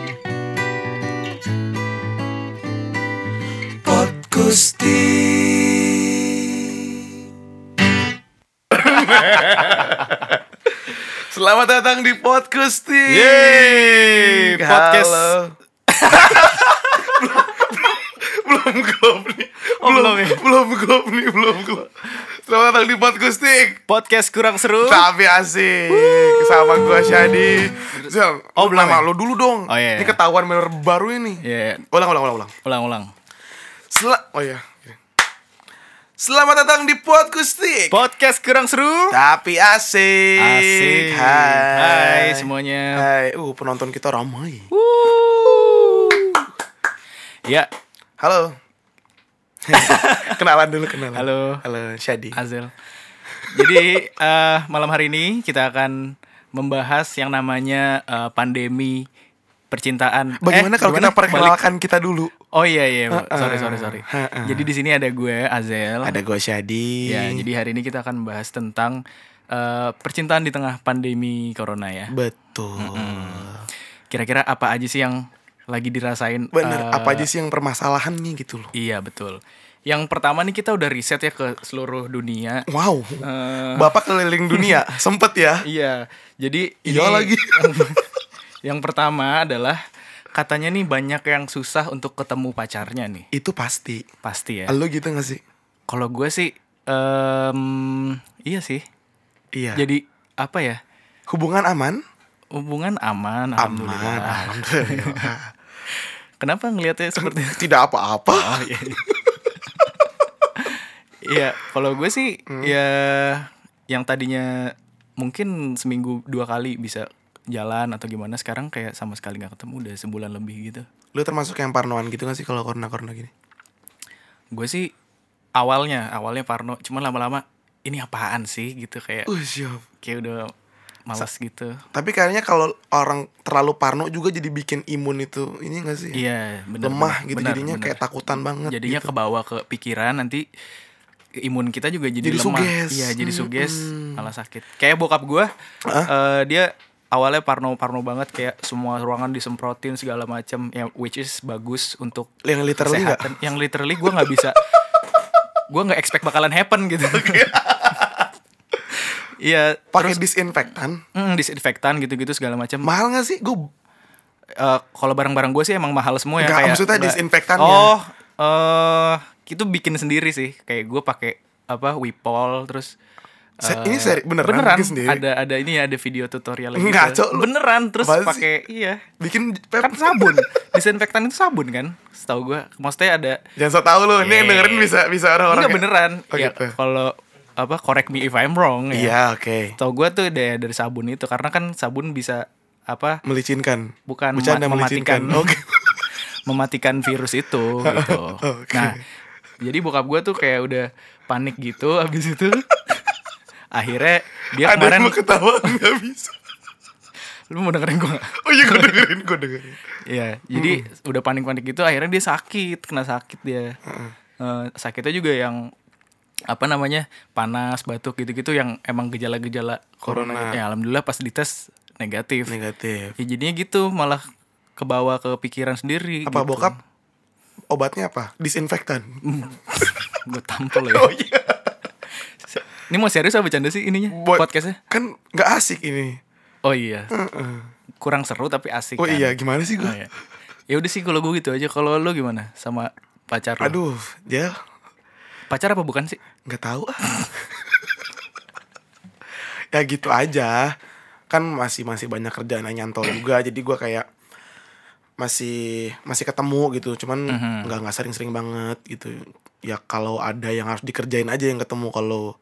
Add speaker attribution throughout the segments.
Speaker 1: Selamat datang di podcast Ting.
Speaker 2: Yeay, podcast.
Speaker 1: Halo. belum klop nih.
Speaker 2: Oh, belum ya?
Speaker 1: Belum klop nih, belum klop. Selamat datang di podcast Ting.
Speaker 2: Podcast kurang seru.
Speaker 1: Tapi asik. Sama gua Syadi. Zal,
Speaker 2: Oh,
Speaker 1: lu
Speaker 2: belum
Speaker 1: nama
Speaker 2: ya?
Speaker 1: lu dulu dong.
Speaker 2: Oh, iya.
Speaker 1: Ini ketahuan member baru ini.
Speaker 2: Ya,
Speaker 1: Ulang, ulang, ulang, ulang.
Speaker 2: ulang-ulang.
Speaker 1: Sel- oh iya. Selamat datang di podcast Ting.
Speaker 2: Podcast kurang seru.
Speaker 1: Tapi asik.
Speaker 2: Asik. Hai
Speaker 1: Hai.
Speaker 2: semuanya.
Speaker 1: Hai, uh penonton kita ramai.
Speaker 2: Wuh. Ya,
Speaker 1: Halo. kenalan dulu kenalan.
Speaker 2: Halo.
Speaker 1: Halo, Syadi.
Speaker 2: Azel. Jadi eh, malam hari ini kita akan membahas yang namanya eh, pandemi percintaan.
Speaker 1: Bagaimana
Speaker 2: Eh,
Speaker 1: kalau kita
Speaker 2: gimana? Balik.
Speaker 1: perkenalkan kita dulu?
Speaker 2: Oh iya iya,
Speaker 1: Heeh.
Speaker 2: sorry sorry sorry.
Speaker 1: Heeh.
Speaker 2: Jadi di sini ada gue Azel.
Speaker 1: Ada gue Syadi.
Speaker 2: Ya, jadi hari ini kita akan membahas tentang eh, percintaan di tengah pandemi corona ya.
Speaker 1: Betul.
Speaker 2: Kira-kira apa aja sih yang lagi dirasain?
Speaker 1: Bener,
Speaker 2: eh,
Speaker 1: apa aja sih yang permasalahannya gitu loh.
Speaker 2: Iya betul. Yang pertama nih kita udah riset ya ke seluruh dunia.
Speaker 1: Wow.
Speaker 2: Eh,
Speaker 1: Bapak keliling dunia, sempet ya.
Speaker 2: iya. Jadi
Speaker 1: Iya
Speaker 2: ini-
Speaker 1: lagi.
Speaker 2: yang pertama adalah katanya nih banyak yang susah untuk ketemu pacarnya nih.
Speaker 1: Itu pasti.
Speaker 2: Pasti ya.
Speaker 1: Lo gitu gak sih?
Speaker 2: Kalau gue sih em, iya sih.
Speaker 1: Iya.
Speaker 2: Jadi apa ya?
Speaker 1: Hubungan aman?
Speaker 2: Hubungan
Speaker 1: Aman.
Speaker 2: aman alhamdulillah.
Speaker 1: Alhamdulillah.
Speaker 2: Kenapa ngelihatnya seperti itu?
Speaker 1: Tidak apa-apa.
Speaker 2: Oh iya. Iya, kalau gue sih
Speaker 1: Hmm.
Speaker 2: ya yang tadinya mungkin seminggu dua kali bisa jalan atau gimana sekarang kayak sama sekali nggak ketemu udah sebulan lebih gitu.
Speaker 1: Lu termasuk yang parnoan gitu gak sih kalau corona-corona gini?
Speaker 2: Gue sih awalnya awalnya Parno, cuman lama-lama ini apaan sih gitu kayak
Speaker 1: Uh, siap.
Speaker 2: kayak udah malas gitu.
Speaker 1: Tapi kayaknya kalau orang terlalu parno juga jadi bikin imun itu ini gak sih?
Speaker 2: Iya, benar.
Speaker 1: Lemah gitu jadinya kayak takutan banget.
Speaker 2: jadinya
Speaker 1: gitu.
Speaker 2: kebawa ke pikiran nanti imun kita juga jadi,
Speaker 1: Jadi Hmm,
Speaker 2: lemah
Speaker 1: suges.
Speaker 2: iya jadi suges
Speaker 1: Mm-mm.
Speaker 2: malah sakit kayak bokap gue dia awalnya parno parno banget kayak semua ruangan disemprotin segala macam yang which is bagus untuk
Speaker 1: yang literally nggak?
Speaker 2: kesehatan yang literally gue nggak bisa gue nggak expect bakalan happen gitu iya
Speaker 1: Pakai disinfektan?
Speaker 2: mm, disinfektan gitu-gitu segala macam
Speaker 1: Mahal gak sih? Gue
Speaker 2: Eh, kalau barang-barang gue sih emang mahal semua ya
Speaker 1: Nggak,
Speaker 2: kayak
Speaker 1: maksudnya ya?
Speaker 2: nggak-
Speaker 1: disinfektannya.
Speaker 2: oh eh itu bikin sendiri sih kayak gue pakai apa Wipol terus
Speaker 1: Se-
Speaker 2: eh,
Speaker 1: ini seri- beneran bikin sendiri?
Speaker 2: ada ada ini ya ada video tutorial gitu.
Speaker 1: Nggak, Cok, lu-
Speaker 2: beneran terus
Speaker 1: Apaan sih?
Speaker 2: pakai iya
Speaker 1: bikin
Speaker 2: kan sabun disinfektan itu sabun kan setahu gue maksudnya ada
Speaker 1: Jangan so tau lu, nih yang
Speaker 2: Yeah.
Speaker 1: dengerin bisa bisa orang-orang.
Speaker 2: enggak
Speaker 1: kayak-
Speaker 2: Iya. beneran
Speaker 1: Oh,
Speaker 2: ya
Speaker 1: gitu.
Speaker 2: kalau apa correct me if I'm wrong ya
Speaker 1: Iya, oke.
Speaker 2: tau gue tuh dari dari sabun itu karena kan sabun bisa apa
Speaker 1: Melicinkan.
Speaker 2: bukan ma-
Speaker 1: Bercanda
Speaker 2: mematikan
Speaker 1: melicinkan. Oke.
Speaker 2: mematikan virus itu gitu.
Speaker 1: Oke.
Speaker 2: Nah, jadi bokap gue tuh kayak udah panik gitu abis itu. akhirnya dia
Speaker 1: Ada yang
Speaker 2: Ya, kemarin
Speaker 1: mau ketawa nggak bisa.
Speaker 2: lu mau dengerin gue nggak?
Speaker 1: Oh iya, gue dengerin, gue dengerin.
Speaker 2: Iya, jadi
Speaker 1: Hmm.
Speaker 2: udah panik-panik gitu akhirnya dia sakit, kena sakit dia. Eh, sakitnya juga yang apa namanya? panas, batuk gitu-gitu yang emang gejala-gejala corona.
Speaker 1: Corona.
Speaker 2: Ya alhamdulillah pas dites negatif.
Speaker 1: Negatif.
Speaker 2: Ya jadinya gitu malah kebawa ke pikiran sendiri
Speaker 1: Apa
Speaker 2: gitu.
Speaker 1: bokap? Obatnya apa? Disinfektan.
Speaker 2: gue tampol ya.
Speaker 1: Oh iya.
Speaker 2: Ini mau serius apa bercanda sih ininya
Speaker 1: Buat-
Speaker 2: podcastnya?
Speaker 1: Kan nggak asik ini.
Speaker 2: Oh iya,
Speaker 1: Heeh.
Speaker 2: kurang seru tapi asik
Speaker 1: Oh
Speaker 2: kan?
Speaker 1: iya, gimana sih gue?
Speaker 2: Oh, iya. Ya udah sih kalau gue gitu aja. Kalau lo gimana sama pacar lo?
Speaker 1: Aduh, dia
Speaker 2: Pacar apa bukan sih?
Speaker 1: nggak tahu. ah. ya gitu aja. Kan masih masih banyak kerjaan yang nyantol juga, jadi gua kayak masih masih ketemu gitu. Cuman nggak nggak sering-sering banget gitu. Ya kalau ada yang harus dikerjain aja yang ketemu kalau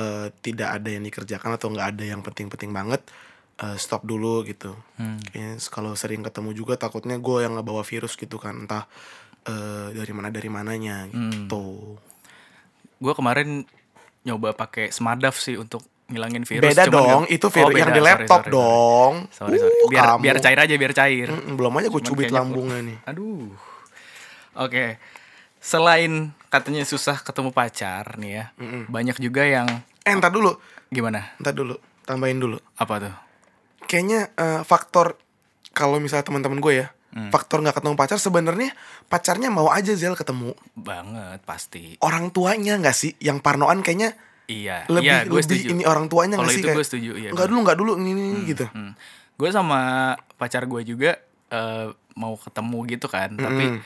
Speaker 1: eh, tidak ada yang dikerjakan atau nggak ada yang penting-penting banget eh, stop dulu gitu. Kayaknya s- kalau sering ketemu juga takutnya gue yang ngebawa virus gitu kan entah eh, dari mana dari mananya gitu.
Speaker 2: Gue kemarin nyoba pakai Smadaf sih untuk ngilangin virus.
Speaker 1: beda
Speaker 2: cuman
Speaker 1: dong,
Speaker 2: nggak-
Speaker 1: itu virus yang
Speaker 2: Oh, beda.
Speaker 1: di
Speaker 2: Sorry,
Speaker 1: laptop
Speaker 2: sorry,
Speaker 1: dong.
Speaker 2: Sorry, sorry.
Speaker 1: Uh,
Speaker 2: Biar,
Speaker 1: kamu.
Speaker 2: biar cair aja, biar cair.
Speaker 1: Mm, belum aja gue
Speaker 2: Cuman
Speaker 1: cubit
Speaker 2: kayaknya-
Speaker 1: lambungnya nih.
Speaker 2: Aduh. Oke. Selain katanya susah ketemu pacar nih ya,
Speaker 1: Hmm.
Speaker 2: banyak juga yang
Speaker 1: Eh, ntar dulu,
Speaker 2: gimana?
Speaker 1: ntar dulu, tambahin dulu.
Speaker 2: Apa tuh?
Speaker 1: Kayaknya eh, faktor kalau misalnya teman-teman gue ya,
Speaker 2: Hmm.
Speaker 1: faktor nggak ketemu pacar sebenarnya pacarnya mau aja Zel ketemu
Speaker 2: Banget pasti.
Speaker 1: orang tuanya nggak sih yang parnoan kayaknya
Speaker 2: Iya,
Speaker 1: lebih
Speaker 2: iya, gue
Speaker 1: lebih
Speaker 2: setuju.
Speaker 1: ini orang tuanya
Speaker 2: Kalau
Speaker 1: nggak sih
Speaker 2: itu
Speaker 1: kayak
Speaker 2: gue setuju, iya.
Speaker 1: nggak dulu nggak dulu ini, ini, ini," gitu
Speaker 2: Hmm. Gue sama pacar gue juga eh, mau ketemu gitu kan, tapi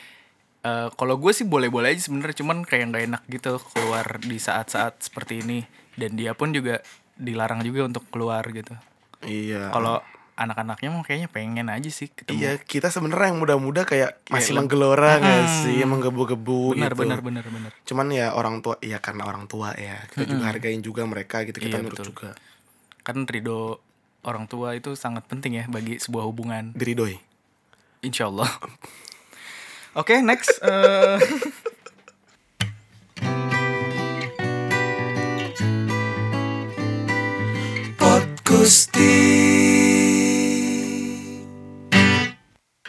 Speaker 2: eh, kalau gue sih boleh-boleh aja sebenarnya, cuman kayak nggak enak gitu keluar di saat-saat seperti ini. Dan dia pun juga dilarang juga untuk keluar gitu.
Speaker 1: iya
Speaker 2: Kalau anak-anaknya mau kayaknya pengen aja sih ketemu.
Speaker 1: Iya, kita sebenarnya yang muda-muda kayak masih menggelora nggak sih, menggebu-gebu
Speaker 2: Hmm. benar,
Speaker 1: gitu.
Speaker 2: benar, benar, benar.
Speaker 1: Cuman ya orang tua, ya karena orang tua ya, kita juga hargain juga mereka gitu, kita
Speaker 2: Iya,
Speaker 1: nurut juga.
Speaker 2: Kan ridho orang tua itu sangat penting ya bagi sebuah hubungan.
Speaker 1: Diridoi.
Speaker 2: Insya Allah. Oke, next. Eh,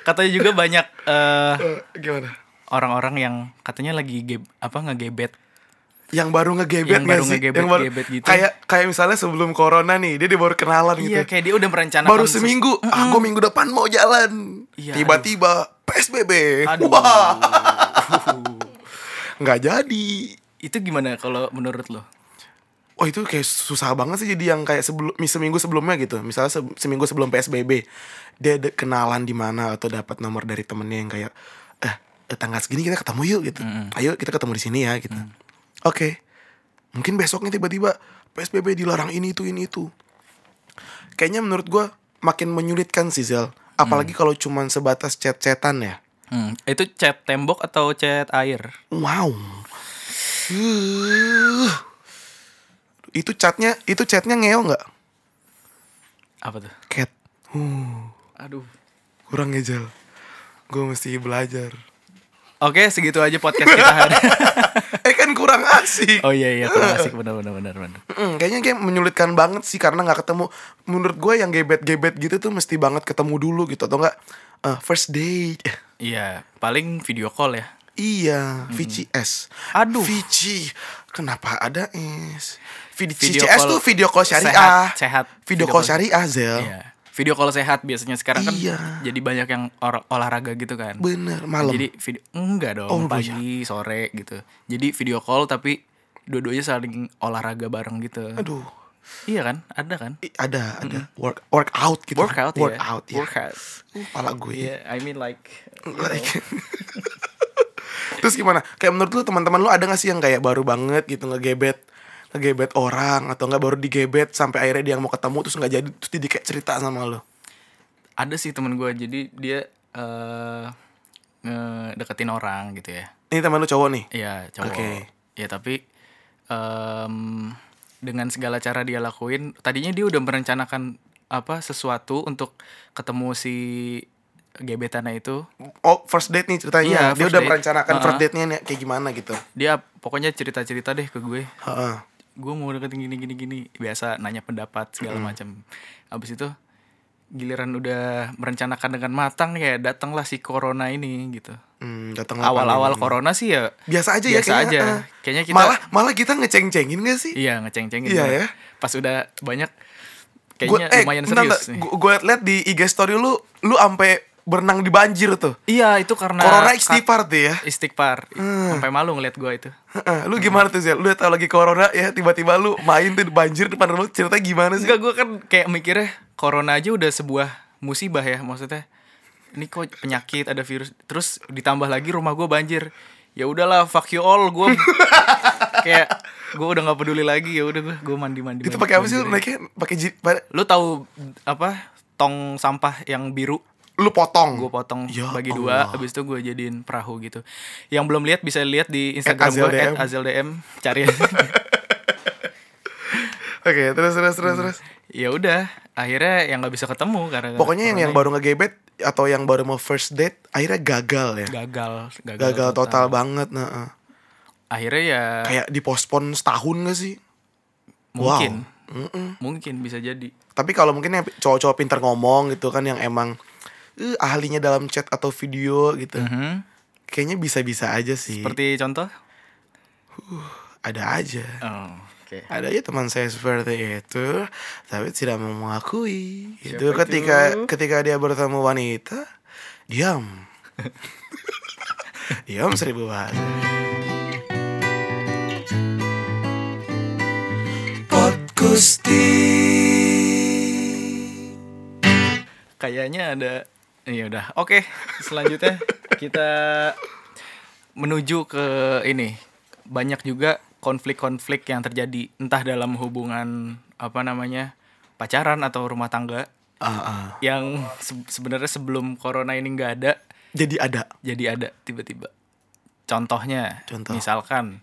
Speaker 2: katanya juga banyak eh,
Speaker 1: Eh, gimana?
Speaker 2: orang-orang yang katanya lagi ge apa ngegebet.
Speaker 1: Yang baru ngegebet
Speaker 2: Yang
Speaker 1: nggak
Speaker 2: baru
Speaker 1: sih?
Speaker 2: ngegebet-
Speaker 1: yang baru
Speaker 2: gebet gitu.
Speaker 1: Kayak kayak misalnya sebelum corona nih, dia dia baru kenalan gitu.
Speaker 2: Iya, kayak dia udah merencanakan
Speaker 1: baru
Speaker 2: sesu-
Speaker 1: seminggu, aku minggu depan mau jalan.
Speaker 2: Iya,
Speaker 1: Tiba-tiba PSBB.
Speaker 2: Aduh.
Speaker 1: Wah, nggak jadi.
Speaker 2: Itu gimana kalau menurut lo?
Speaker 1: Wah itu kayak susah banget sih jadi yang kayak sebelum seminggu sebelumnya gitu. Misalnya se- seminggu sebelum PSBB dia ada kenalan di mana atau dapat nomor dari temennya yang kayak eh eh, tanggal segini kita ketemu yuk gitu. Ayo kita ketemu di sini ya gitu. Oke. Mungkin besoknya tiba-tiba PSBB dilarang ini itu ini itu. Kayaknya menurut gua makin menyulitkan sih Zel. Apalagi kalau cuman sebatas chat-chatan ya.
Speaker 2: Hmm, itu cat tembok atau cat air?
Speaker 1: Wow. Huh. itu catnya itu catnya ngeo nggak?
Speaker 2: Apa tuh?
Speaker 1: Cat. Huh,
Speaker 2: Aduh.
Speaker 1: kurang ngejel. Gue mesti belajar.
Speaker 2: Oke, segitu aja podcast kita hari.
Speaker 1: eh kan kurang asik.
Speaker 2: oh iya iya, kurang asik benar benar benar benar.
Speaker 1: Mm, kayaknya kayak menyulitkan banget sih karena nggak ketemu. Menurut gue yang gebet-gebet gitu tuh mesti banget ketemu dulu gitu atau enggak first date.
Speaker 2: Iya, paling video call ya.
Speaker 1: Iya, VCS.
Speaker 2: Aduh.
Speaker 1: VC. Kenapa ada S? VCS
Speaker 2: Video call
Speaker 1: tuh video call syariah.
Speaker 2: sehat, sehat.
Speaker 1: Video,
Speaker 2: Video
Speaker 1: call
Speaker 2: call-
Speaker 1: syariah, Zel.
Speaker 2: Iya. Video call sehat biasanya sekarang kan
Speaker 1: Iya.
Speaker 2: jadi banyak yang or- olahraga gitu kan.
Speaker 1: Bener, malam.
Speaker 2: Jadi video enggak dong
Speaker 1: Oh,
Speaker 2: pagi sore gitu. Jadi video call tapi dua-duanya saling olahraga bareng gitu.
Speaker 1: Aduh.
Speaker 2: Iya kan? Ada kan?
Speaker 1: Ih, ada, ada. Work workout gitu.
Speaker 2: Workout,
Speaker 1: workout
Speaker 2: ya.
Speaker 1: ya.
Speaker 2: Workout.
Speaker 1: Uh, pala gue.
Speaker 2: Iya, I mean like
Speaker 1: Like- Terus gimana? Kayak menurut lu teman-teman lu ada gak sih yang kayak baru banget gitu ngegebet ngegebet orang atau nggak baru digebet sampai akhirnya dia yang mau ketemu terus nggak jadi terus dia kayak cerita sama lu.
Speaker 2: ada sih temen gue jadi dia eh ngedeketin orang gitu ya.
Speaker 1: Ini teman lu cowok nih.
Speaker 2: Iya cowok.
Speaker 1: Oke.
Speaker 2: Ya tapi em, dengan segala cara dia lakuin, tadinya dia udah merencanakan apa sesuatu untuk ketemu si gebetannya itu.
Speaker 1: Oh, first date nih ceritanya.
Speaker 2: Iya,
Speaker 1: dia
Speaker 2: first
Speaker 1: udah
Speaker 2: date.
Speaker 1: merencanakan
Speaker 2: Heeh.
Speaker 1: first date-nya nih kayak gimana gitu.
Speaker 2: Dia pokoknya cerita-cerita deh ke gue.
Speaker 1: Heeh.
Speaker 2: Gue mau deketin gini gini gini. Biasa nanya pendapat segala
Speaker 1: Hmm.
Speaker 2: macam. Abis itu giliran udah merencanakan dengan matang nih, kayak datanglah si corona ini gitu.
Speaker 1: Hmm, datang lapangan.
Speaker 2: Awal-awal corona sih ya
Speaker 1: biasa aja ya
Speaker 2: biasa
Speaker 1: kayaknya.
Speaker 2: aja.
Speaker 1: heeh.
Speaker 2: Kayaknya kita
Speaker 1: Malah malah kita ngeceng-cengin gak sih?
Speaker 2: Iya ngeceng-cengin
Speaker 1: Iya,
Speaker 2: banget.
Speaker 1: ya.
Speaker 2: Pas udah banyak
Speaker 1: Gua-
Speaker 2: Kayaknya
Speaker 1: eh,
Speaker 2: lumayan
Speaker 1: bentar,
Speaker 2: serius
Speaker 1: bentar.
Speaker 2: nih.
Speaker 1: Gua- Gue liat di IG story lu Lu ampe berenang di banjir tuh
Speaker 2: Iya itu karena
Speaker 1: Corona
Speaker 2: kat-
Speaker 1: istighfar Hmm. tuh ya
Speaker 2: Istighfar Sampai malu ngeliat gue itu
Speaker 1: Heeh, Lu gimana tuh Zel? Lu tau lagi corona ya Tiba-tiba lu main tuh di banjir depan lu Ceritanya gimana sih?
Speaker 2: Enggak gue kan kayak mikirnya Corona aja udah sebuah musibah ya Maksudnya Ini kok penyakit ada virus Terus ditambah lagi rumah gue banjir Ya udahlah fuck you all Gue Kayak Gue udah gak peduli lagi ya udah gue gue mandi-mandi
Speaker 1: Itu pakai apa sih lu naiknya? Pakai ji- pa-
Speaker 2: Lu tahu apa tong sampah yang biru
Speaker 1: Lu potong
Speaker 2: gue potong
Speaker 1: Ya
Speaker 2: bagi
Speaker 1: Allah.
Speaker 2: dua habis itu gue jadiin perahu gitu yang belum lihat bisa lihat di instagram
Speaker 1: Azil
Speaker 2: gue
Speaker 1: DM.
Speaker 2: @azeldm cari
Speaker 1: Oke terus terus terus terus
Speaker 2: ya udah akhirnya yang nggak bisa ketemu karena
Speaker 1: Pokoknya yang, yang
Speaker 2: corona
Speaker 1: baru ngegebet Atau yang baru mau first date Akhirnya gagal ya
Speaker 2: gagal gagal,
Speaker 1: Gagal total banget nah, eh.
Speaker 2: akhirnya ya
Speaker 1: Kayak dipospon setahun gak sih?
Speaker 2: mungkin
Speaker 1: Wow. Mm-mm.
Speaker 2: mungkin bisa jadi
Speaker 1: Tapi kalau mungkin yang cowok-cowok pintar ngomong gitu kan yang emang eh, ahlinya dalam chat atau video gitu.
Speaker 2: Mhm.
Speaker 1: Kayaknya bisa-bisa aja sih.
Speaker 2: seperti contoh
Speaker 1: ada aja.
Speaker 2: oh, oke
Speaker 1: Ada aja teman saya seperti itu, tapi tidak mau mengakui. Itu
Speaker 2: Siapa
Speaker 1: ketika
Speaker 2: itu?
Speaker 1: ketika dia bertemu wanita, diam. diam seribu bahasa.
Speaker 3: Gusti.
Speaker 2: Kayaknya ada ya udah. Oke, selanjutnya kita menuju ke ini. Banyak juga konflik-konflik yang terjadi entah dalam hubungan apa namanya? pacaran atau rumah tangga
Speaker 1: Ah, ah.
Speaker 2: yang se- sebenarnya sebelum corona ini nggak ada
Speaker 1: Jadi ada.
Speaker 2: jadi ada tiba-tiba. Contohnya,
Speaker 1: Contoh.
Speaker 2: misalkan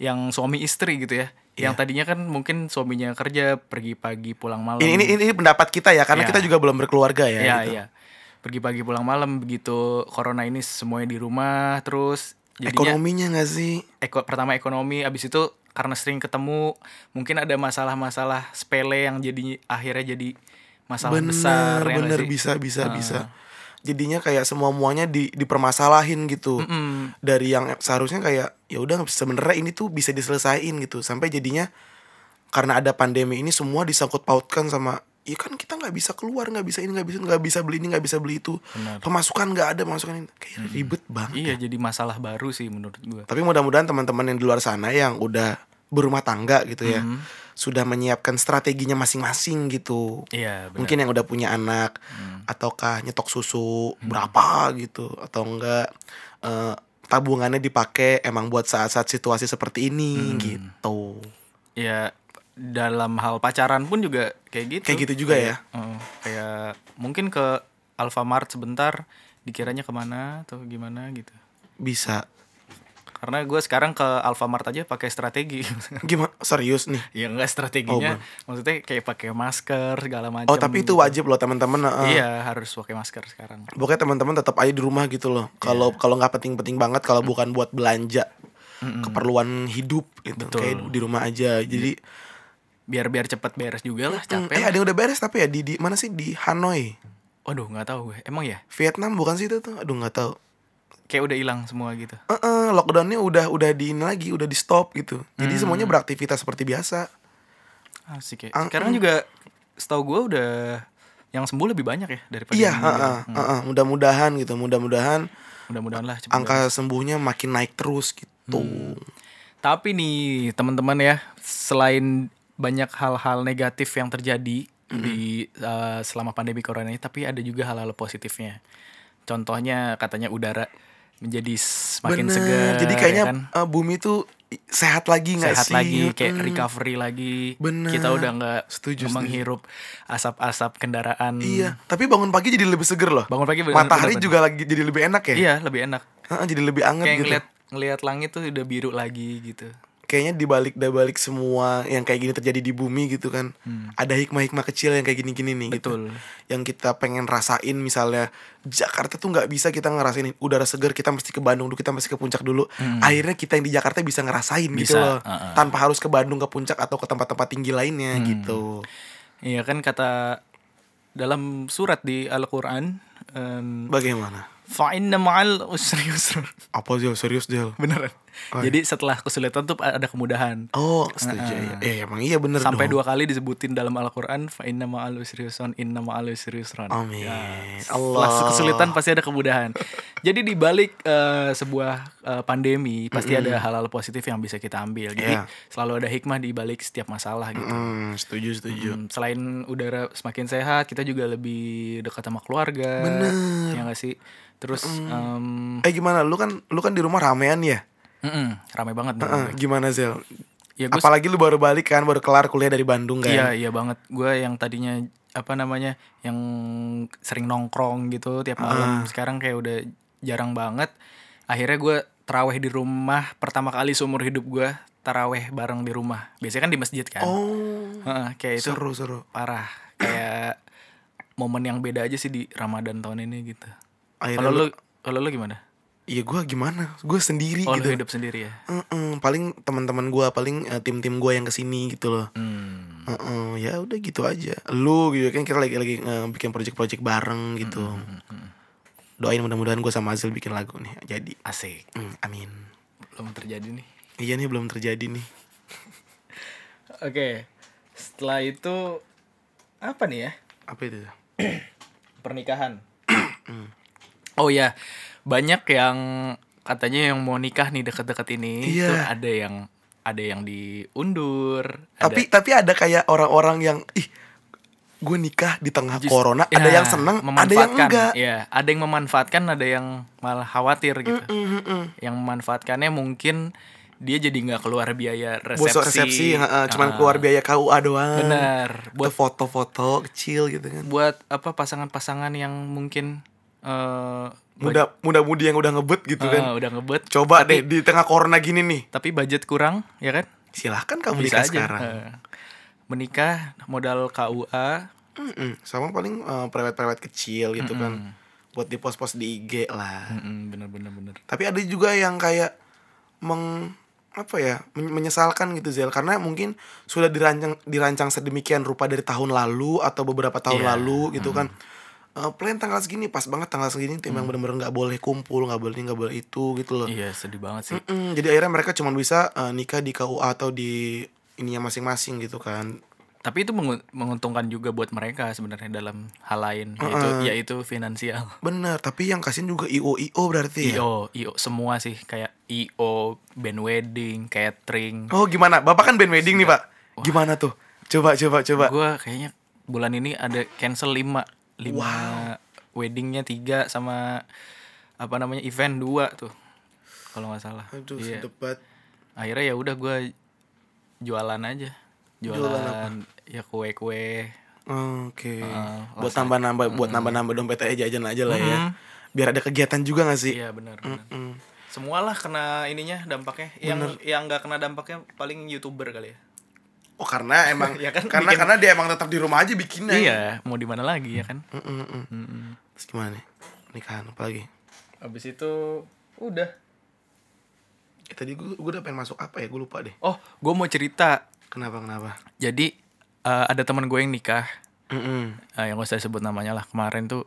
Speaker 2: yang suami istri gitu ya, yang
Speaker 1: Iya.
Speaker 2: tadinya kan mungkin suaminya kerja pergi pagi pulang malam.
Speaker 1: Ini, ini ini ini pendapat kita ya karena
Speaker 2: Iya.
Speaker 1: kita juga belum berkeluarga ya.
Speaker 2: ya,
Speaker 1: gitu.
Speaker 2: ya. Pergi pagi pulang malam begitu corona ini semuanya di rumah terus jadinya
Speaker 1: Ekonominya nggak sih?
Speaker 2: eko- pertama ekonomi abis itu karena sering ketemu mungkin ada masalah-masalah sepele yang jadi akhirnya jadi masalah
Speaker 1: bener,
Speaker 2: besar ya nggak
Speaker 1: bener
Speaker 2: sih?
Speaker 1: bisa bisa bisa. Jadinya kayak semua muanya di dipermasalahin gitu.
Speaker 2: Hmm,
Speaker 1: Dari yang seharusnya kayak ya udah sebenarnya ini tuh bisa diselesain gitu sampai jadinya karena ada pandemi ini semua disangkut pautkan sama ya kan kita nggak bisa keluar nggak bisa ini nggak bisa nggak bisa beli ini nggak bisa beli itu pemasukan nggak ada pemasukan ini kayak ribet banget
Speaker 2: Iya jadi masalah baru sih menurut gua.
Speaker 1: Tapi mudah-mudahan teman-teman yang di luar sana yang udah berumah tangga gitu ya, sudah menyiapkan strateginya masing-masing gitu.
Speaker 2: Iya benar.
Speaker 1: Mungkin yang udah punya anak,
Speaker 2: Hmm.
Speaker 1: ataukah nyetok susu berapa gitu, atau enggak eh, tabungannya dipakai emang buat saat-saat situasi seperti ini
Speaker 2: Hmm.
Speaker 1: gitu.
Speaker 2: ya dalam hal pacaran pun juga kayak gitu
Speaker 1: Kayak gitu juga ya.
Speaker 2: eh, kayak mungkin ke Alfamart sebentar dikiranya kemana atau gimana gitu
Speaker 1: Bisa.
Speaker 2: karena gue sekarang ke Alfamart aja pakai strategi
Speaker 1: Gimana? Serius nih?
Speaker 2: ya enggak strateginya maksudnya kayak pakai masker segala macam
Speaker 1: Oh tapi itu wajib loh teman-teman. eh,
Speaker 2: gitu. iya harus pakai masker sekarang
Speaker 1: pokoknya teman-teman tetap aja di rumah gitu
Speaker 2: Iya.
Speaker 1: loh kalau kalau nggak penting-penting banget kalau
Speaker 2: Hmm.
Speaker 1: bukan buat belanja keperluan hidup gitu kayak di rumah aja jadi
Speaker 2: biar biar cepet beres juga lah
Speaker 1: Hmm,
Speaker 2: Iya. Ah, capek
Speaker 1: eh
Speaker 2: lah.
Speaker 1: ada yang udah beres tapi ya di, di mana sih di Hanoi
Speaker 2: aduh nggak tahu gue emang ya
Speaker 1: Vietnam bukan sih itu tuh aduh nggak tahu
Speaker 2: kayak udah hilang semua gitu
Speaker 1: Eh, eh, lockdownnya udah udah di ini lagi udah di stop gitu jadi
Speaker 2: Hmm.
Speaker 1: semuanya beraktivitas seperti biasa
Speaker 2: asik ya
Speaker 1: Ah,
Speaker 2: sekarang juga setahu gue udah yang sembuh lebih banyak ya daripada
Speaker 1: iya
Speaker 2: yang
Speaker 1: eh,
Speaker 2: meninggal.
Speaker 1: eh, eh, eh, mudah-mudahan gitu mudah-mudahan
Speaker 2: mudah-mudahan Hmm, lah cepet
Speaker 1: angka sembuhnya makin naik terus gitu
Speaker 2: Tapi nih teman-teman ya, selain banyak hal-hal negatif yang terjadi di uh, selama pandemi corona ini, tapi ada juga hal-hal positifnya. Contohnya katanya udara menjadi semakin
Speaker 1: Bener.
Speaker 2: segar.
Speaker 1: jadi
Speaker 2: ya
Speaker 1: kayaknya
Speaker 2: kan?
Speaker 1: eh, bumi tuh sehat lagi nggak
Speaker 2: sehat
Speaker 1: sih
Speaker 2: lagi, kayak
Speaker 1: Mm.
Speaker 2: recovery lagi.
Speaker 1: Bener.
Speaker 2: Kita udah nggak
Speaker 1: Setuju,
Speaker 2: menghirup asap-asap kendaraan.
Speaker 1: Iya, tapi bangun pagi jadi lebih seger loh.
Speaker 2: hmm. Bangun pagi bener-
Speaker 1: matahari
Speaker 2: bener-bener.
Speaker 1: juga lagi jadi lebih enak ya.
Speaker 2: Iya, lebih enak.
Speaker 1: Heeh, jadi lebih anget
Speaker 2: Kayak
Speaker 1: gitu.
Speaker 2: ngeliat ngeliat langit tuh udah biru lagi gitu.
Speaker 1: Kayaknya dibalik dibalik semua yang kayak gini terjadi di bumi gitu kan.
Speaker 2: Hmm.
Speaker 1: Ada hikmah-hikmah kecil yang kayak gini-gini nih
Speaker 2: Betul.
Speaker 1: gitu. Yang kita pengen rasain misalnya Jakarta tuh nggak bisa kita ngerasain udara seger, kita mesti ke Bandung dulu, kita mesti ke puncak dulu. Akhirnya kita yang di Jakarta bisa ngerasain gitu
Speaker 2: Hmm. Bisa,
Speaker 1: loh.
Speaker 2: heeh. Hmm.
Speaker 1: Tanpa harus ke Bandung ke puncak atau ke tempat-tempat tinggi lainnya gitu.
Speaker 2: Iya kan kata dalam surat di Al-Qur'an em,
Speaker 1: Bagaimana?
Speaker 2: Fa'inna ma'al usri yusra.
Speaker 1: Apa sih serius Del?
Speaker 2: Beneran.
Speaker 1: iya.
Speaker 2: Jadi setelah kesulitan tuh ada kemudahan.
Speaker 1: Oh, setuju. ya. Eh, emang iya bener
Speaker 2: Sampai
Speaker 1: dong.
Speaker 2: dua kali disebutin dalam Al-Qur'an fa'inna ma'al usri yusron, inna ma'al usri yusron.
Speaker 1: Amin. Allah.
Speaker 2: Setelah kesulitan pasti ada kemudahan. Jadi di balik eh, sebuah eh, pandemi pasti ada hal-hal positif yang bisa kita ambil. Jadi
Speaker 1: Iya.
Speaker 2: selalu ada hikmah di balik setiap masalah gitu.
Speaker 1: Hmm, setuju setuju.
Speaker 2: Hmm, selain udara semakin sehat, kita juga lebih dekat sama keluarga.
Speaker 1: Bener.
Speaker 2: Ya nggak sih? Terus em,
Speaker 1: Eh gimana? Lu kan lu kan di rumah ramean ya?
Speaker 2: mm-mm, rame banget. nih.
Speaker 1: Eh, gimana Zel?
Speaker 2: Iya. Ya gue
Speaker 1: Apalagi lu baru balik kan, baru kelar kuliah dari Bandung kan?
Speaker 2: iya iya banget. Gue yang tadinya apa namanya yang sering nongkrong gitu tiap malam sekarang kayak udah jarang banget. Akhirnya gue taraweh di rumah pertama kali seumur hidup gue taraweh bareng di rumah. Biasanya kan di masjid kan.
Speaker 1: Oh,
Speaker 2: Heeh, kayak Ya, itu
Speaker 1: seru seru.
Speaker 2: parah kayak momen yang beda aja sih di Ramadan tahun ini gitu.
Speaker 1: Akhirnya
Speaker 2: Kalau lu kalau lu gimana?
Speaker 1: Iya gue gimana? Gue sendiri
Speaker 2: Oh, lu
Speaker 1: gitu.
Speaker 2: hidup sendiri ya.
Speaker 1: Heeh, paling teman-teman gue, paling eh, tim-tim gue yang kesini gitu loh.
Speaker 2: Hmm.
Speaker 1: Heeh, ya udah gitu aja. Lu gitu kan kita lagi lagi eh, bikin project-project bareng gitu.
Speaker 2: Hmm,
Speaker 1: Doain mudah-mudahan gue sama Azil bikin lagu nih. Jadi,
Speaker 2: Asik.
Speaker 1: Hmm, amin.
Speaker 2: Belum terjadi nih.
Speaker 1: Iya nih belum terjadi nih.
Speaker 2: Oke. Setelah itu apa nih ya?
Speaker 1: Apa itu?
Speaker 2: Pernikahan. oh ya, banyak yang katanya yang mau nikah nih deket-deket ini
Speaker 1: Iya.
Speaker 2: itu ada yang ada yang diundur ada-
Speaker 1: tapi tapi ada kayak orang-orang yang ih gue nikah di tengah
Speaker 2: Just-
Speaker 1: corona
Speaker 2: ya,
Speaker 1: ada yang seneng ada yang
Speaker 2: memanfaatkan.
Speaker 1: enggak
Speaker 2: ya ada yang memanfaatkan ada yang malah khawatir gitu yang memanfaatkannya mungkin dia jadi nggak keluar biaya resepsi
Speaker 1: bosok resepsi heeh, cuman
Speaker 2: Ah,
Speaker 1: keluar biaya KUA doang
Speaker 2: benar
Speaker 1: buat
Speaker 2: buat
Speaker 1: foto-foto kecil gitu kan
Speaker 2: buat apa pasangan-pasangan yang mungkin eh, baj-
Speaker 1: muda muda-mudi yang udah ngebet gitu kan
Speaker 2: eh, udah ngebet
Speaker 1: coba deh
Speaker 2: tapi,
Speaker 1: di tengah corona gini nih
Speaker 2: tapi budget kurang ya kan
Speaker 1: silahkan kamu
Speaker 2: bisa
Speaker 1: nikah
Speaker 2: aja
Speaker 1: sekarang
Speaker 2: Eh, menikah modal KUA
Speaker 1: Mm-mm. sama paling eh, prewed-prewed kecil gitu kan buat di pos-pos di IG lah
Speaker 2: Mm-mm, bener bener bener
Speaker 1: tapi ada juga yang kayak meng apa ya men- menyesalkan gitu Zel karena mungkin sudah dirancang dirancang sedemikian rupa dari tahun lalu atau beberapa tahun
Speaker 2: Iya,
Speaker 1: lalu gitu kan Eh, plan tanggal segini pas banget tanggal segini tim yang bener-bener nggak boleh kumpul nggak boleh ini, nggak boleh itu gitu loh
Speaker 2: iya sedih banget sih
Speaker 1: Mm, jadi akhirnya mereka cuma bisa eh, nikah di KUA atau di ininya masing-masing gitu kan
Speaker 2: tapi itu mengu- menguntungkan juga buat mereka sebenarnya dalam hal lain yaitu yaitu finansial
Speaker 1: bener tapi yang kasihin juga IO IO berarti ya?
Speaker 2: io io semua sih kayak io band wedding catering
Speaker 1: oh gimana bapak kan band wedding nih pak gimana tuh coba coba coba
Speaker 2: gua kayaknya bulan ini ada cancel 5 5 weddingnya 3 sama apa namanya event 2 tuh kalau nggak salah
Speaker 1: aduh
Speaker 2: Iya.
Speaker 1: sedep banget.
Speaker 2: akhirnya ya udah gua jualan aja jualan, ya kue-kue
Speaker 1: Oke.
Speaker 2: Heeh,
Speaker 1: buat nambah-nambah, buat nambah-nambah dompet aja jajan aja lah ya. Biar ada kegiatan juga gak sih? Mm.
Speaker 2: Iya benar. benar. Semualah kena ininya dampaknya. Yang yang nggak kena dampaknya paling youtuber kali ya.
Speaker 1: Oh karena emang,
Speaker 2: Iya kan,
Speaker 1: karena karena dia emang tetap di rumah aja bikinnya.
Speaker 2: Iya, mau di mana lagi ya kan?
Speaker 1: Mm, mm, mm. Terus gimana nih? Nikahan apalagi?
Speaker 2: Abis itu udah.
Speaker 1: Eh, tadi gue udah pengen masuk apa ya? Gue lupa deh.
Speaker 2: Oh, gue mau cerita.
Speaker 1: Kenapa kenapa?
Speaker 2: Jadi eh, ada teman gue yang nikah,
Speaker 1: Mm-mm.
Speaker 2: Eh, yang gak usah disebut namanya lah. Kemarin tuh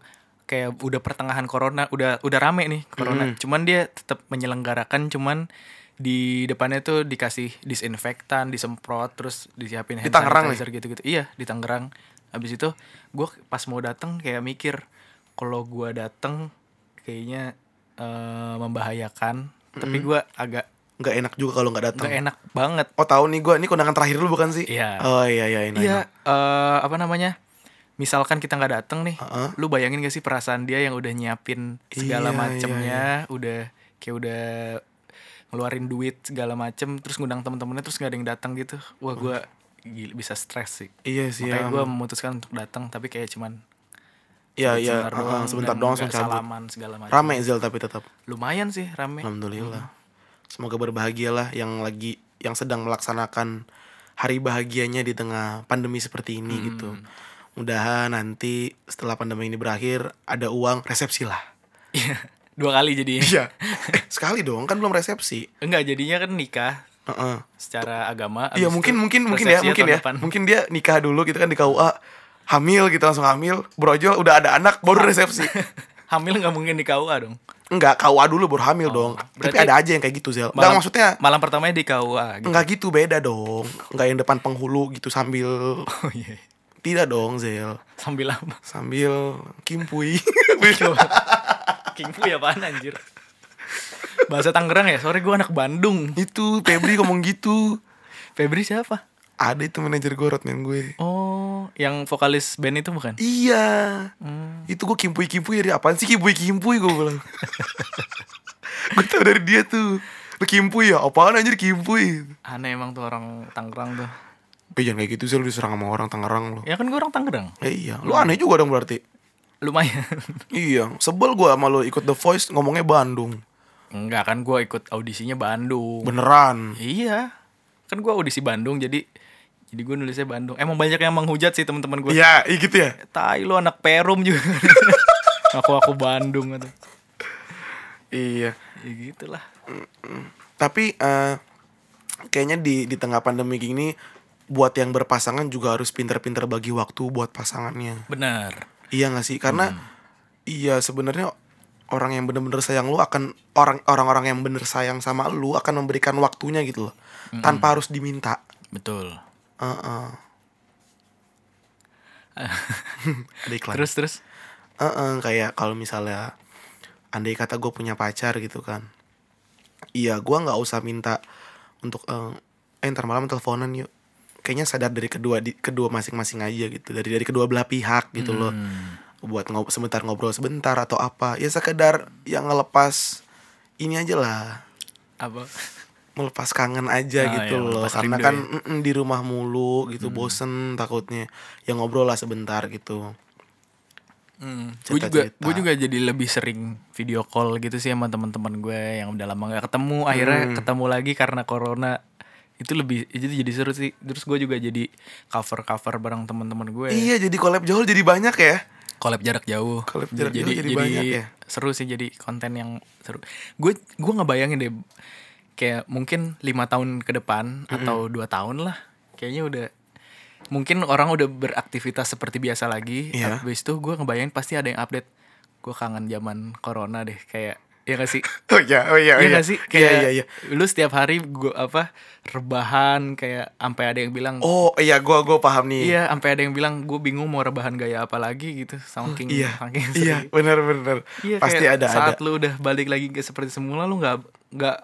Speaker 2: kayak udah pertengahan corona, udah udah rame nih corona. Cuman dia tetap menyelenggarakan, cuman di depannya tuh dikasih disinfektan, disemprot, terus disiapin hand
Speaker 1: Di Tangerang ya? nih?
Speaker 2: sanitizer gitu-gitu. Iya, di Tangerang. Habis itu gue pas mau datang kayak mikir kalau gua datang kayaknya eh, membahayakan, tapi gua agak
Speaker 1: Nggak enak juga kalau nggak datang.
Speaker 2: nggak enak banget.
Speaker 1: Oh tahu nih gue, ini kondangan terakhir lu bukan sih?
Speaker 2: Iya.
Speaker 1: Oh iya iya iya.
Speaker 2: Iya, eh, apa namanya? Misalkan kita nggak datang nih,
Speaker 1: Heeh.
Speaker 2: lu bayangin gak sih perasaan dia yang udah nyiapin segala
Speaker 1: Iya,
Speaker 2: macemnya, udah kayak udah ngeluarin duit segala macem, terus ngundang temen-temennya, terus nggak ada yang datang gitu. Wah, gua gila, bisa stres sih.
Speaker 1: Iya sih. ya.
Speaker 2: Makanya gue memutuskan untuk datang, tapi kayak cuman
Speaker 1: Iya iya.
Speaker 2: sebentar
Speaker 1: Heeh,
Speaker 2: doang
Speaker 1: Sebentar
Speaker 2: dan
Speaker 1: doang
Speaker 2: nggak
Speaker 1: langsung cabut.
Speaker 2: salaman segala macam.
Speaker 1: Rame Zel tapi tetap.
Speaker 2: Lumayan sih rame.
Speaker 1: Alhamdulillah. Semoga berbahagialah yang lagi yang sedang melaksanakan hari bahagianya di tengah pandemi seperti ini
Speaker 2: Hmm.
Speaker 1: gitu. Mudahan nanti setelah pandemi ini berakhir ada uang resepsi lah.
Speaker 2: Iya, Dua kali jadi.
Speaker 1: Iya. Eh, sekali dong kan belum resepsi.
Speaker 2: Enggak jadinya kan nikah
Speaker 1: Heeh.
Speaker 2: secara agama.
Speaker 1: Iya
Speaker 2: abis itu
Speaker 1: mungkin mungkin mungkin ya
Speaker 2: resepsinya
Speaker 1: mungkin
Speaker 2: tahun
Speaker 1: ya.
Speaker 2: depan.
Speaker 1: Mungkin dia nikah dulu gitu kan di KUA hamil gitu langsung hamil brojol udah ada anak baru resepsi
Speaker 2: Hamil nggak mungkin di KUA dong.
Speaker 1: enggak KUA dulu baru hamil dong tapi
Speaker 2: Oh, berarti
Speaker 1: ada aja yang kayak gitu Zel enggak maksudnya
Speaker 2: malam pertamanya di KUA gitu.
Speaker 1: enggak gitu beda dong enggak yang depan penghulu gitu sambil
Speaker 2: Oh iya.
Speaker 1: Tidak dong Zel
Speaker 2: Sambil apa?
Speaker 1: Sambil Kimpui
Speaker 2: King Fu ya apaan anjir? Bahasa Tangerang ya? Sorry gue anak Bandung.
Speaker 1: Itu Febri ngomong gitu
Speaker 2: Febri siapa?
Speaker 1: Ada itu manajer gorot men gue
Speaker 2: Oh, yang vokalis band itu bukan?
Speaker 1: Iya Itu gue kimpui-kimpui dari apaan sih kimpui-kimpui gue bilang Gue tau dari dia tuh Lu kimpui ya apaan anjir kimpui
Speaker 2: Aneh emang tuh orang Tangerang tuh.
Speaker 1: Eh jangan kayak gitu Zel lu diserang sama orang Tangerang lu
Speaker 2: Ya kan gue orang Tangerang.
Speaker 1: Eh, iya, lu aneh juga dong berarti
Speaker 2: Lumayan.
Speaker 1: Iya, sebel gue sama lu ikut The Voice ngomongnya Bandung
Speaker 2: Enggak kan gue ikut audisinya Bandung.
Speaker 1: Beneran
Speaker 2: Iya. Kan gue audisi Bandung jadi jadi gue nulisnya Bandung. Emang banyak yang menghujat sih teman-teman gue.
Speaker 1: Iya, iya gitu ya
Speaker 2: Tai lu anak Perum juga. aku aku Bandung atau.
Speaker 1: Iya
Speaker 2: Ya gitulah.
Speaker 1: tapi eh, kayaknya di di tengah pandemi gini buat yang berpasangan juga harus pinter-pinter bagi waktu buat pasangannya
Speaker 2: Benar.
Speaker 1: iya gak sih karena iya sebenarnya orang yang bener-bener sayang lu akan orang orang-orang yang bener sayang sama lu akan memberikan waktunya gitu loh tanpa harus diminta
Speaker 2: Betul.
Speaker 1: Heeh. ada iklan
Speaker 2: Terus terus.
Speaker 1: Heeh, kayak kalau misalnya andai kata gue punya pacar gitu kan iya gue nggak usah minta untuk eh, eh ntar malam teleponan yuk kayaknya sadar dari kedua di, kedua masing-masing aja gitu dari dari kedua belah pihak gitu loh
Speaker 2: Hmm.
Speaker 1: buat ngob sebentar ngobrol sebentar atau apa ya sekedar yang ngelepas ini aja lah
Speaker 2: apa
Speaker 1: melepas kangen aja
Speaker 2: Ah,
Speaker 1: gitu
Speaker 2: iya,
Speaker 1: loh
Speaker 2: melepas
Speaker 1: karena
Speaker 2: rindu Hmm.
Speaker 1: kan mm-mm, di rumah mulu gitu bosen takutnya ya ngobrol lah sebentar gitu
Speaker 2: gue Hmm. juga
Speaker 1: Cerita-cerita.
Speaker 2: gue juga jadi lebih sering video call gitu sih sama teman-teman gue yang udah lama nggak ketemu akhirnya ketemu lagi karena corona itu lebih itu jadi seru sih terus gue juga jadi cover cover bareng teman-teman gue
Speaker 1: iya jadi collab jauh jadi banyak ya
Speaker 2: collab jarak jauh
Speaker 1: Collab jarak jauh jadi banyak ya.
Speaker 2: seru sih jadi konten yang seru gue gue ngebayangin deh kayak mungkin lima tahun ke depan atau dua tahun lah kayaknya udah mungkin orang udah beraktivitas seperti biasa lagi
Speaker 1: Iya.
Speaker 2: habis itu gue ngebayangin pasti ada yang update gue kangen zaman corona deh kayak ya gak sih
Speaker 1: oh ya oh ya oh
Speaker 2: Iya
Speaker 1: ya
Speaker 2: gak sih?
Speaker 1: iya
Speaker 2: Kayak
Speaker 1: iya iya
Speaker 2: lu setiap hari gua apa rebahan kayak sampai ada yang bilang
Speaker 1: oh iya gua gua paham nih
Speaker 2: Iya, sampai ada yang bilang gue bingung mau rebahan gaya apa lagi gitu, saking
Speaker 1: iya
Speaker 2: saking
Speaker 1: iya
Speaker 2: sering.
Speaker 1: benar benar
Speaker 2: Iya,
Speaker 1: pasti
Speaker 2: kayak
Speaker 1: ada ada
Speaker 2: saat lu udah balik lagi ke seperti semula lu nggak nggak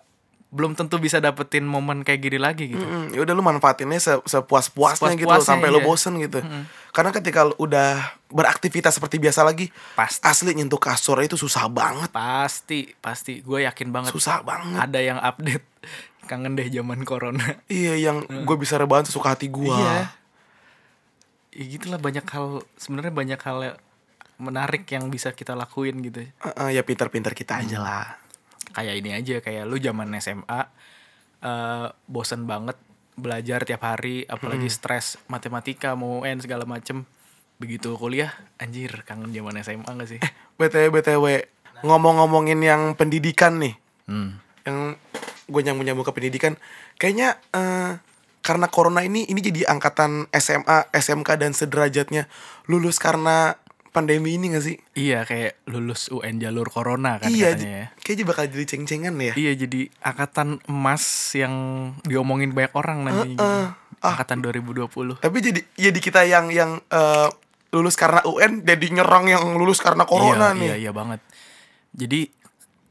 Speaker 2: belum tentu bisa dapetin momen kayak gini lagi gitu.
Speaker 1: Mm, ya udah lu manfaatinnya se- sepuas-puasnya gitu loh,
Speaker 2: Sepuas-puasnya,
Speaker 1: sampai lu
Speaker 2: iya.
Speaker 1: bosen gitu. Karena ketika lu udah beraktivitas seperti biasa lagi,
Speaker 2: Pasti.
Speaker 1: asli nyentuh kasur itu susah banget,
Speaker 2: Pasti, pasti gue yakin banget
Speaker 1: susah banget.
Speaker 2: ada yang update kangen deh zaman corona.
Speaker 1: Iya, yang gue bisa rebahan sesuka hati gua.
Speaker 2: Mm. Iya. Ya gitulah banyak hal sebenarnya banyak hal yang menarik yang bisa kita lakuin gitu.
Speaker 1: Eh, eh, ya pintar-pintar kita aja lah.
Speaker 2: kayak ini aja kayak lu zaman SMA eh bosen banget belajar tiap hari apalagi stres matematika mau UN segala macem begitu kuliah anjir kangen zaman SMA gak sih
Speaker 1: BTW BTW ngomong-ngomongin yang pendidikan nih.
Speaker 2: Hmm.
Speaker 1: Yang gue nyambung nyambung ke pendidikan, kayaknya eh, karena corona ini ini jadi angkatan SMA, SMK dan sederajatnya lulus karena pandemi ini gak sih?
Speaker 2: iya kayak lulus UN jalur corona kan
Speaker 1: iya,
Speaker 2: katanya ya
Speaker 1: j- kayaknya bakal jadi ceng-cengan ya.
Speaker 2: iya jadi angkatan emas yang diomongin banyak orang nanti gitu. angkatan 2020
Speaker 1: Tapi jadi jadi kita yang yang eh, lulus karena UN jadi nyerang yang lulus karena corona
Speaker 2: iya,
Speaker 1: nih.
Speaker 2: Iya, iya banget. Jadi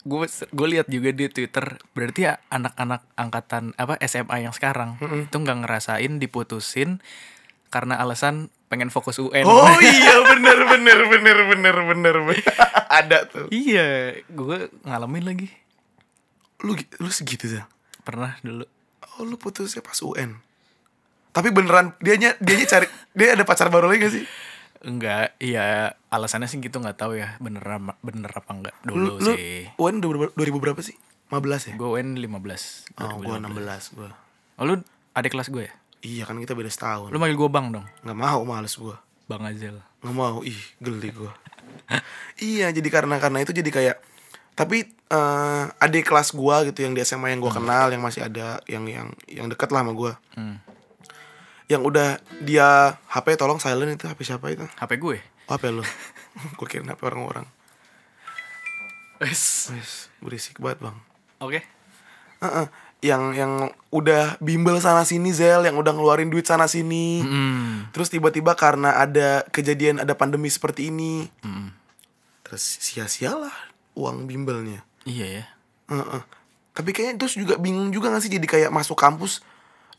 Speaker 2: gue gue lihat juga di Twitter berarti ya anak-anak angkatan apa SMA yang sekarang itu nggak ngerasain diputusin karena alasan pengen fokus UN.
Speaker 1: Oh iya bener bener bener bener bener bener. ada tuh.
Speaker 2: iya, gue ngalamin lagi
Speaker 1: Lu gi- lu segitu Zal?
Speaker 2: pernah dulu.
Speaker 1: Oh lu putusnya pas UN. Tapi beneran dianya dianya cari dia ada pacar baru lagi gak sih?
Speaker 2: Enggak, iya alasannya sih gitu nggak tahu ya bener ama- bener apa enggak
Speaker 1: Lu,
Speaker 2: dulu
Speaker 1: lu
Speaker 2: sih.
Speaker 1: UN 2000 2000 berapa sih? 15 ya?
Speaker 2: Gue UN 15.
Speaker 1: Oh, gua 16
Speaker 2: 2015.
Speaker 1: gua.
Speaker 2: Oh, lu adik kelas gue ya?
Speaker 1: Iya kan kita beda setahun.
Speaker 2: Lu manggil gue Bang dong.
Speaker 1: Nggak mau males gua.
Speaker 2: Bang Azel.
Speaker 1: nggak mau ih geli gua iya jadi karena karena itu jadi kayak tapi eh adik kelas gua gitu yang di SMA yang gua
Speaker 2: Hmm.
Speaker 1: kenal yang masih ada yang yang yang dekat lah sama gua yang udah dia HP tolong silent itu HP siapa itu
Speaker 2: HP gue.
Speaker 1: oh, HP lu gua kira HP orang-orang
Speaker 2: Wes.
Speaker 1: Wes, berisik banget bang
Speaker 2: Oke.
Speaker 1: Heeh. yang yang udah bimbel sana sini Zel yang udah ngeluarin duit sana sini
Speaker 2: Hmm.
Speaker 1: Terus tiba-tiba karena ada kejadian ada pandemi seperti ini, terus sia-sialah uang bimbelnya.
Speaker 2: Iya ya.
Speaker 1: Heeh. Tapi kayaknya terus juga bingung juga gak sih jadi kayak masuk kampus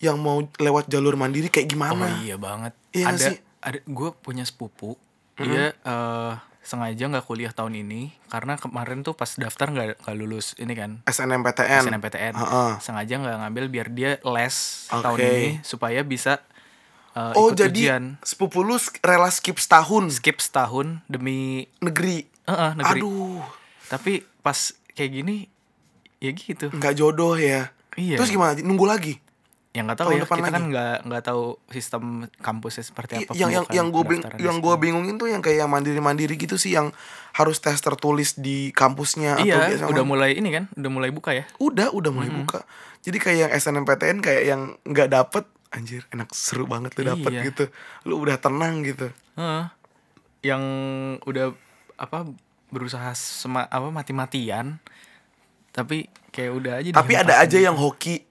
Speaker 1: yang mau lewat jalur mandiri kayak
Speaker 2: Oh
Speaker 1: gimana?
Speaker 2: iya banget.
Speaker 1: Iya nggak
Speaker 2: ada
Speaker 1: sih? Mm-hmm.
Speaker 2: ada gue punya sepupu. Dia eh, sengaja nggak kuliah tahun ini karena kemarin tuh pas daftar nggak nggak lulus ini kan
Speaker 1: SNMPTN.
Speaker 2: SNMPTN.
Speaker 1: Mm. Heeh.
Speaker 2: Sengaja nggak ngambil biar dia les tahun
Speaker 1: Oke.
Speaker 2: ini supaya bisa eh,
Speaker 1: Oh
Speaker 2: ikut
Speaker 1: jadi
Speaker 2: ujian.
Speaker 1: sepupu lu sk- rela skip setahun
Speaker 2: skip setahun demi
Speaker 1: negeri.
Speaker 2: eh, eh, negeri.
Speaker 1: Aduh,
Speaker 2: Tapi pas kayak gini ya gitu.
Speaker 1: nggak jodoh ya.
Speaker 2: Iya.
Speaker 1: Terus gimana? Nunggu lagi.
Speaker 2: Yang nggak tahu
Speaker 1: Tahun
Speaker 2: ya
Speaker 1: depan
Speaker 2: kita kan
Speaker 1: lagi.
Speaker 2: nggak nggak tahu sistem kampusnya seperti apa.
Speaker 1: Iya, yang yang
Speaker 2: pembukaan
Speaker 1: yang gue bing-
Speaker 2: pendaftaran
Speaker 1: yang
Speaker 2: dan
Speaker 1: gue bingungin tuh yang kayak yang mandiri-mandiri gitu sih yang harus tes tertulis di kampusnya atau
Speaker 2: Iya,
Speaker 1: biasa
Speaker 2: udah mulai ini kan, udah mulai buka ya.
Speaker 1: udah udah mulai buka jadi kayak yang SNMPTN kayak yang nggak dapet anjir enak seru banget lu dapet
Speaker 2: Iya.
Speaker 1: gitu lu udah tenang gitu
Speaker 2: Heeh. Yang udah apa berusaha sema, apa mati-matian tapi kayak udah aja
Speaker 1: tapi ada
Speaker 2: dilepas.
Speaker 1: aja yang hoki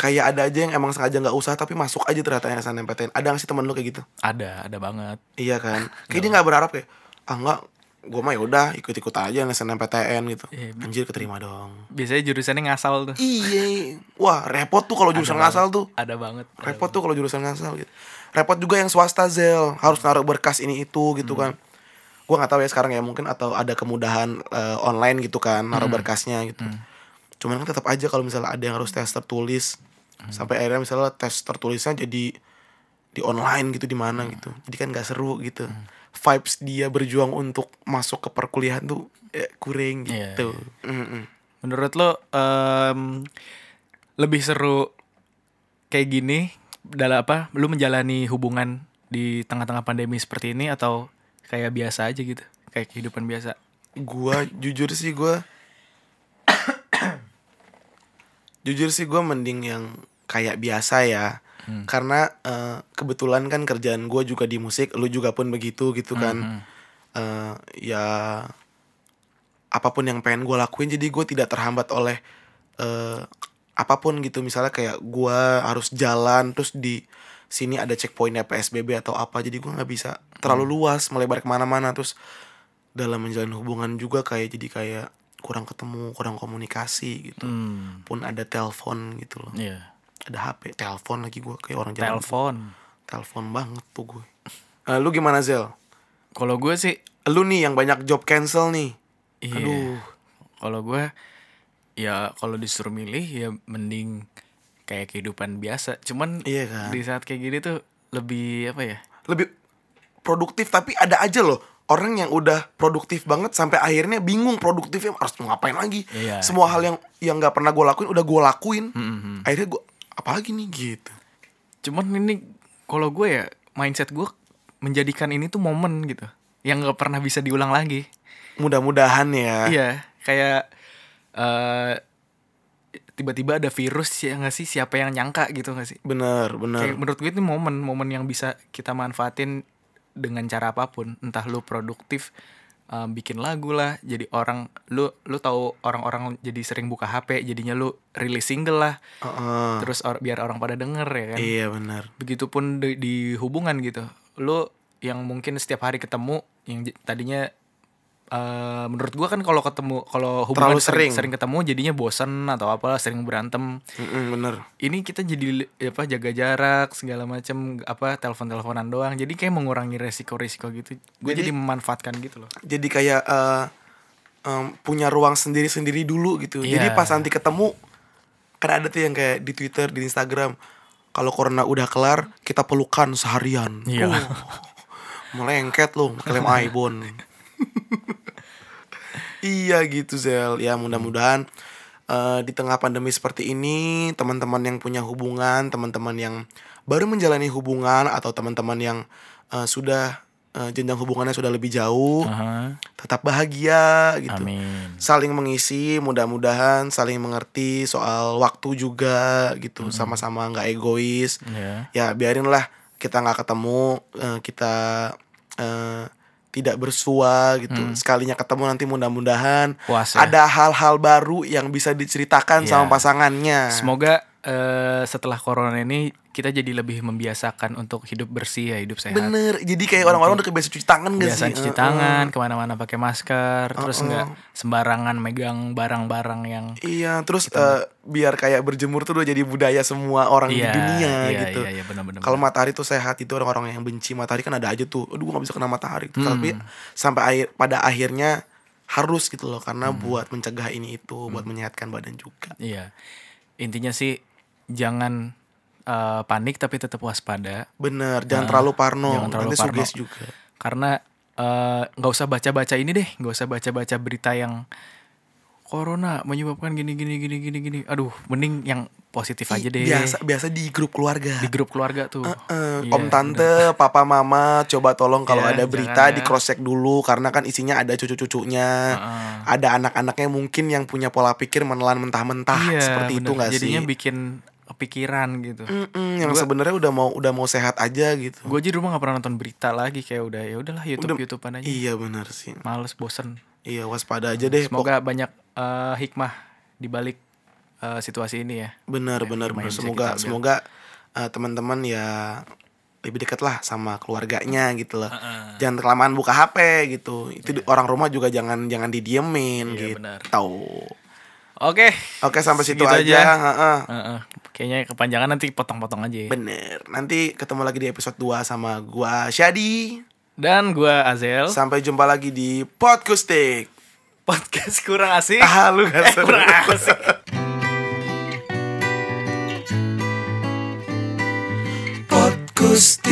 Speaker 1: kayak ada aja yang emang sengaja nggak usah tapi masuk aja ternyata SNMPTN ada nggak sih teman lu kayak gitu
Speaker 2: ada ada banget
Speaker 1: iya kan kayak dia nggak berharap kayak ah nggak gue mah ya udah ikut-ikut aja SNMPTN gitu.
Speaker 2: Iya, bi-
Speaker 1: Anjir keterima dong.
Speaker 2: Biasanya jurusannya ngasal tuh.
Speaker 1: Iya. Wah, repot tuh kalau jurusan ngasal tuh.
Speaker 2: Ada banget. ada
Speaker 1: Repot tuh kalau jurusan ngasal gitu. Repot juga yang swasta Zel, harus naruh berkas ini itu
Speaker 2: Hmm.
Speaker 1: gitu kan. Gua nggak tahu ya sekarang ya mungkin atau ada kemudahan eh, online gitu kan naruh
Speaker 2: Hmm.
Speaker 1: berkasnya gitu. Cuman kan tetap aja kalau misalnya ada yang harus tes tertulis
Speaker 2: Hmm.
Speaker 1: sampai akhirnya misalnya tes tertulisnya jadi di online gitu di mana
Speaker 2: Hmm.
Speaker 1: gitu. Jadi kan nggak seru gitu. Vibes dia berjuang untuk masuk ke perkuliahan tuh eh, kuring
Speaker 2: Iya,
Speaker 1: gitu. Mm-mm.
Speaker 2: Menurut lo em, lebih seru kayak gini dalam apa? Lu menjalani hubungan di tengah-tengah pandemi seperti ini atau kayak biasa aja gitu? Kayak kehidupan biasa.
Speaker 1: gua jujur sih gua jujur sih gua mending yang kayak biasa ya karena eh, kebetulan kan kerjaan gua juga di musik lu juga pun begitu gitu kan Eh, ya apapun yang pengen gua lakuin jadi gue tidak terhambat oleh eh, apapun gitu misalnya kayak gua harus jalan terus di sini ada checkpointnya psbb atau apa jadi gua nggak bisa
Speaker 2: Hmm.
Speaker 1: terlalu luas melebar kemana-mana terus dalam menjalin hubungan juga kayak jadi kayak kurang ketemu kurang komunikasi gitu
Speaker 2: Hmm.
Speaker 1: pun ada telepon gitu loh
Speaker 2: Iya.
Speaker 1: ada hp telepon lagi gua kayak orang jalan
Speaker 2: Telepon.
Speaker 1: telepon banget tuh gue Eh, lu gimana Zel
Speaker 2: Kalau gue sih
Speaker 1: lu nih yang banyak job cancel nih
Speaker 2: Iya.
Speaker 1: Aduh.
Speaker 2: Kalau gue ya kalau disuruh milih ya mending kayak kehidupan biasa. Cuman
Speaker 1: Iya kan?
Speaker 2: di saat kayak gini tuh lebih apa ya?
Speaker 1: lebih produktif tapi ada aja loh orang yang udah produktif banget sampai akhirnya bingung produktifnya harus mau ngapain lagi
Speaker 2: Iya. Hmm,
Speaker 1: semua hal yang yang nggak pernah gue lakuin udah gue lakuin akhirnya gue apalagi nih gitu
Speaker 2: Cuman ini kalau gue ya mindset gue menjadikan ini tuh momen gitu yang nggak pernah bisa diulang lagi.
Speaker 1: mudah-mudahan ya
Speaker 2: Iya, kayak eh tiba-tiba ada virus ya nggak sih siapa yang nyangka gitu nggak sih?
Speaker 1: bener bener
Speaker 2: Kayak menurut gue itu momen momen yang bisa kita manfaatin dengan cara apapun entah lu produktif eh, bikin lagu lah jadi orang lu lu tahu orang-orang jadi sering buka HP jadinya lu rilis single lah
Speaker 1: Heeh.
Speaker 2: terus or- biar orang pada denger ya kan
Speaker 1: iya bener
Speaker 2: begitupun di, di hubungan gitu lu yang mungkin setiap hari ketemu yang j- tadinya eh, menurut gua kan kalau ketemu kalau hubungan
Speaker 1: Terlalu sering.
Speaker 2: sering ketemu jadinya bosen atau apa sering berantem
Speaker 1: Mm-mm, bener
Speaker 2: ini kita jadi li- apa jaga jarak segala macam apa telepon teleponan doang jadi kayak mengurangi resiko resiko gitu gue jadi,
Speaker 1: Jadi-
Speaker 2: memanfaatkan gitu loh
Speaker 1: jadi kayak eh, em, punya ruang sendiri-sendiri dulu gitu. Jadi
Speaker 2: Iya.
Speaker 1: pas nanti ketemu kan ada tuh yang kayak di Twitter, di Instagram, kalau corona udah kelar, kita pelukan seharian.
Speaker 2: Iya.
Speaker 1: Uh, melengket loh, klaim ibon. iya gitu Zel. Ya mudah-mudahan eh, di tengah pandemi seperti ini, teman-teman yang punya hubungan, teman-teman yang baru menjalani hubungan atau teman-teman yang eh, sudah eh, jenjang hubungannya sudah lebih jauh, tetap bahagia gitu.
Speaker 2: Amin.
Speaker 1: Saling mengisi, mudah-mudahan saling mengerti soal waktu juga gitu. Sama-sama nggak egois.
Speaker 2: Iya.
Speaker 1: Ya biarinlah kita nggak ketemu, eh, kita eh, tidak bersua gitu.
Speaker 2: Mm.
Speaker 1: Sekalinya ketemu nanti mudah-mudahan
Speaker 2: Puas ya.
Speaker 1: ada hal-hal baru yang bisa diceritakan
Speaker 2: Iya.
Speaker 1: sama pasangannya.
Speaker 2: semoga eh, setelah corona ini kita jadi lebih membiasakan untuk hidup bersih ya hidup sehat
Speaker 1: Bener. Jadi kayak orang-orang udah kebiasaan cuci tangan gak sih?
Speaker 2: biasa cuci
Speaker 1: Eh, eh.
Speaker 2: tangan kemana-mana pakai masker terus nggak sembarangan megang barang-barang yang
Speaker 1: Iya, terus
Speaker 2: Gitu.
Speaker 1: eh, biar kayak berjemur tuh udah jadi budaya semua orang di
Speaker 2: Iya,
Speaker 1: dunia
Speaker 2: iya,
Speaker 1: gitu.
Speaker 2: iya, iya, benar-benar.
Speaker 1: Kalau matahari tuh sehat itu orang-orang yang benci matahari kan ada aja tuh. Aduh, gua gak bisa kena matahari. Tapi
Speaker 2: Hmm.
Speaker 1: sampai akhir pada akhirnya harus gitu loh karena
Speaker 2: Hmm.
Speaker 1: buat mencegah ini itu, buat menyehatkan badan juga.
Speaker 2: iya intinya sih jangan eh, panik tapi tetap waspada
Speaker 1: Bener, jangan terlalu parno.
Speaker 2: Ah, jangan terlalu
Speaker 1: Nanti
Speaker 2: parno.
Speaker 1: suges juga.
Speaker 2: karena eh, nggak usah baca-baca ini deh nggak usah baca-baca berita yang corona menyebabkan gini gini gini gini gini aduh mending yang positif aja deh
Speaker 1: Biasa biasa di grup keluarga.
Speaker 2: di grup keluarga tuh
Speaker 1: Eh,
Speaker 2: Iya,
Speaker 1: om tante, papa mama, coba tolong kalau
Speaker 2: Iya,
Speaker 1: ada berita
Speaker 2: jangan ya.
Speaker 1: di cross check dulu karena kan isinya ada cucu-cucunya, ada anak-anaknya mungkin yang punya pola pikir menelan mentah-mentah
Speaker 2: Iya,
Speaker 1: seperti itu
Speaker 2: bener.
Speaker 1: nggak sih?
Speaker 2: jadinya bikin pikiran gitu
Speaker 1: Mm-mm, yang sebenarnya udah mau udah mau sehat aja gitu.
Speaker 2: gue aja di rumah nggak pernah nonton berita lagi kayak udah ya udahlah YouTube
Speaker 1: Udah-
Speaker 2: YouTubean aja
Speaker 1: Iya benar sih.
Speaker 2: males bosen
Speaker 1: Iya waspada aja deh.
Speaker 2: semoga banyak eh, hikmah di balik eh, situasi ini ya
Speaker 1: benar-benar
Speaker 2: yang bisa
Speaker 1: semoga
Speaker 2: kita ambil.
Speaker 1: semoga eh, teman-teman ya lebih dekat lah sama keluarganya gitu loh jangan kelamaan buka hp gitu itu di- orang rumah juga jangan jangan didiemin
Speaker 2: Iya,
Speaker 1: gitu
Speaker 2: benar. Oke.
Speaker 1: oke sampai situ
Speaker 2: Segitu
Speaker 1: aja,
Speaker 2: aja.
Speaker 1: Heeh.
Speaker 2: Heeh. Kayaknya kepanjangan nanti potong-potong aja ya.
Speaker 1: bener nanti ketemu lagi di episode 2 sama gua Syadi
Speaker 2: Dan gua Azel.
Speaker 1: sampai jumpa lagi di podcastik
Speaker 2: Podcast kurang asik.
Speaker 1: ah lu gak
Speaker 2: Eh,
Speaker 1: seru.
Speaker 2: kurang asik.
Speaker 3: Podcast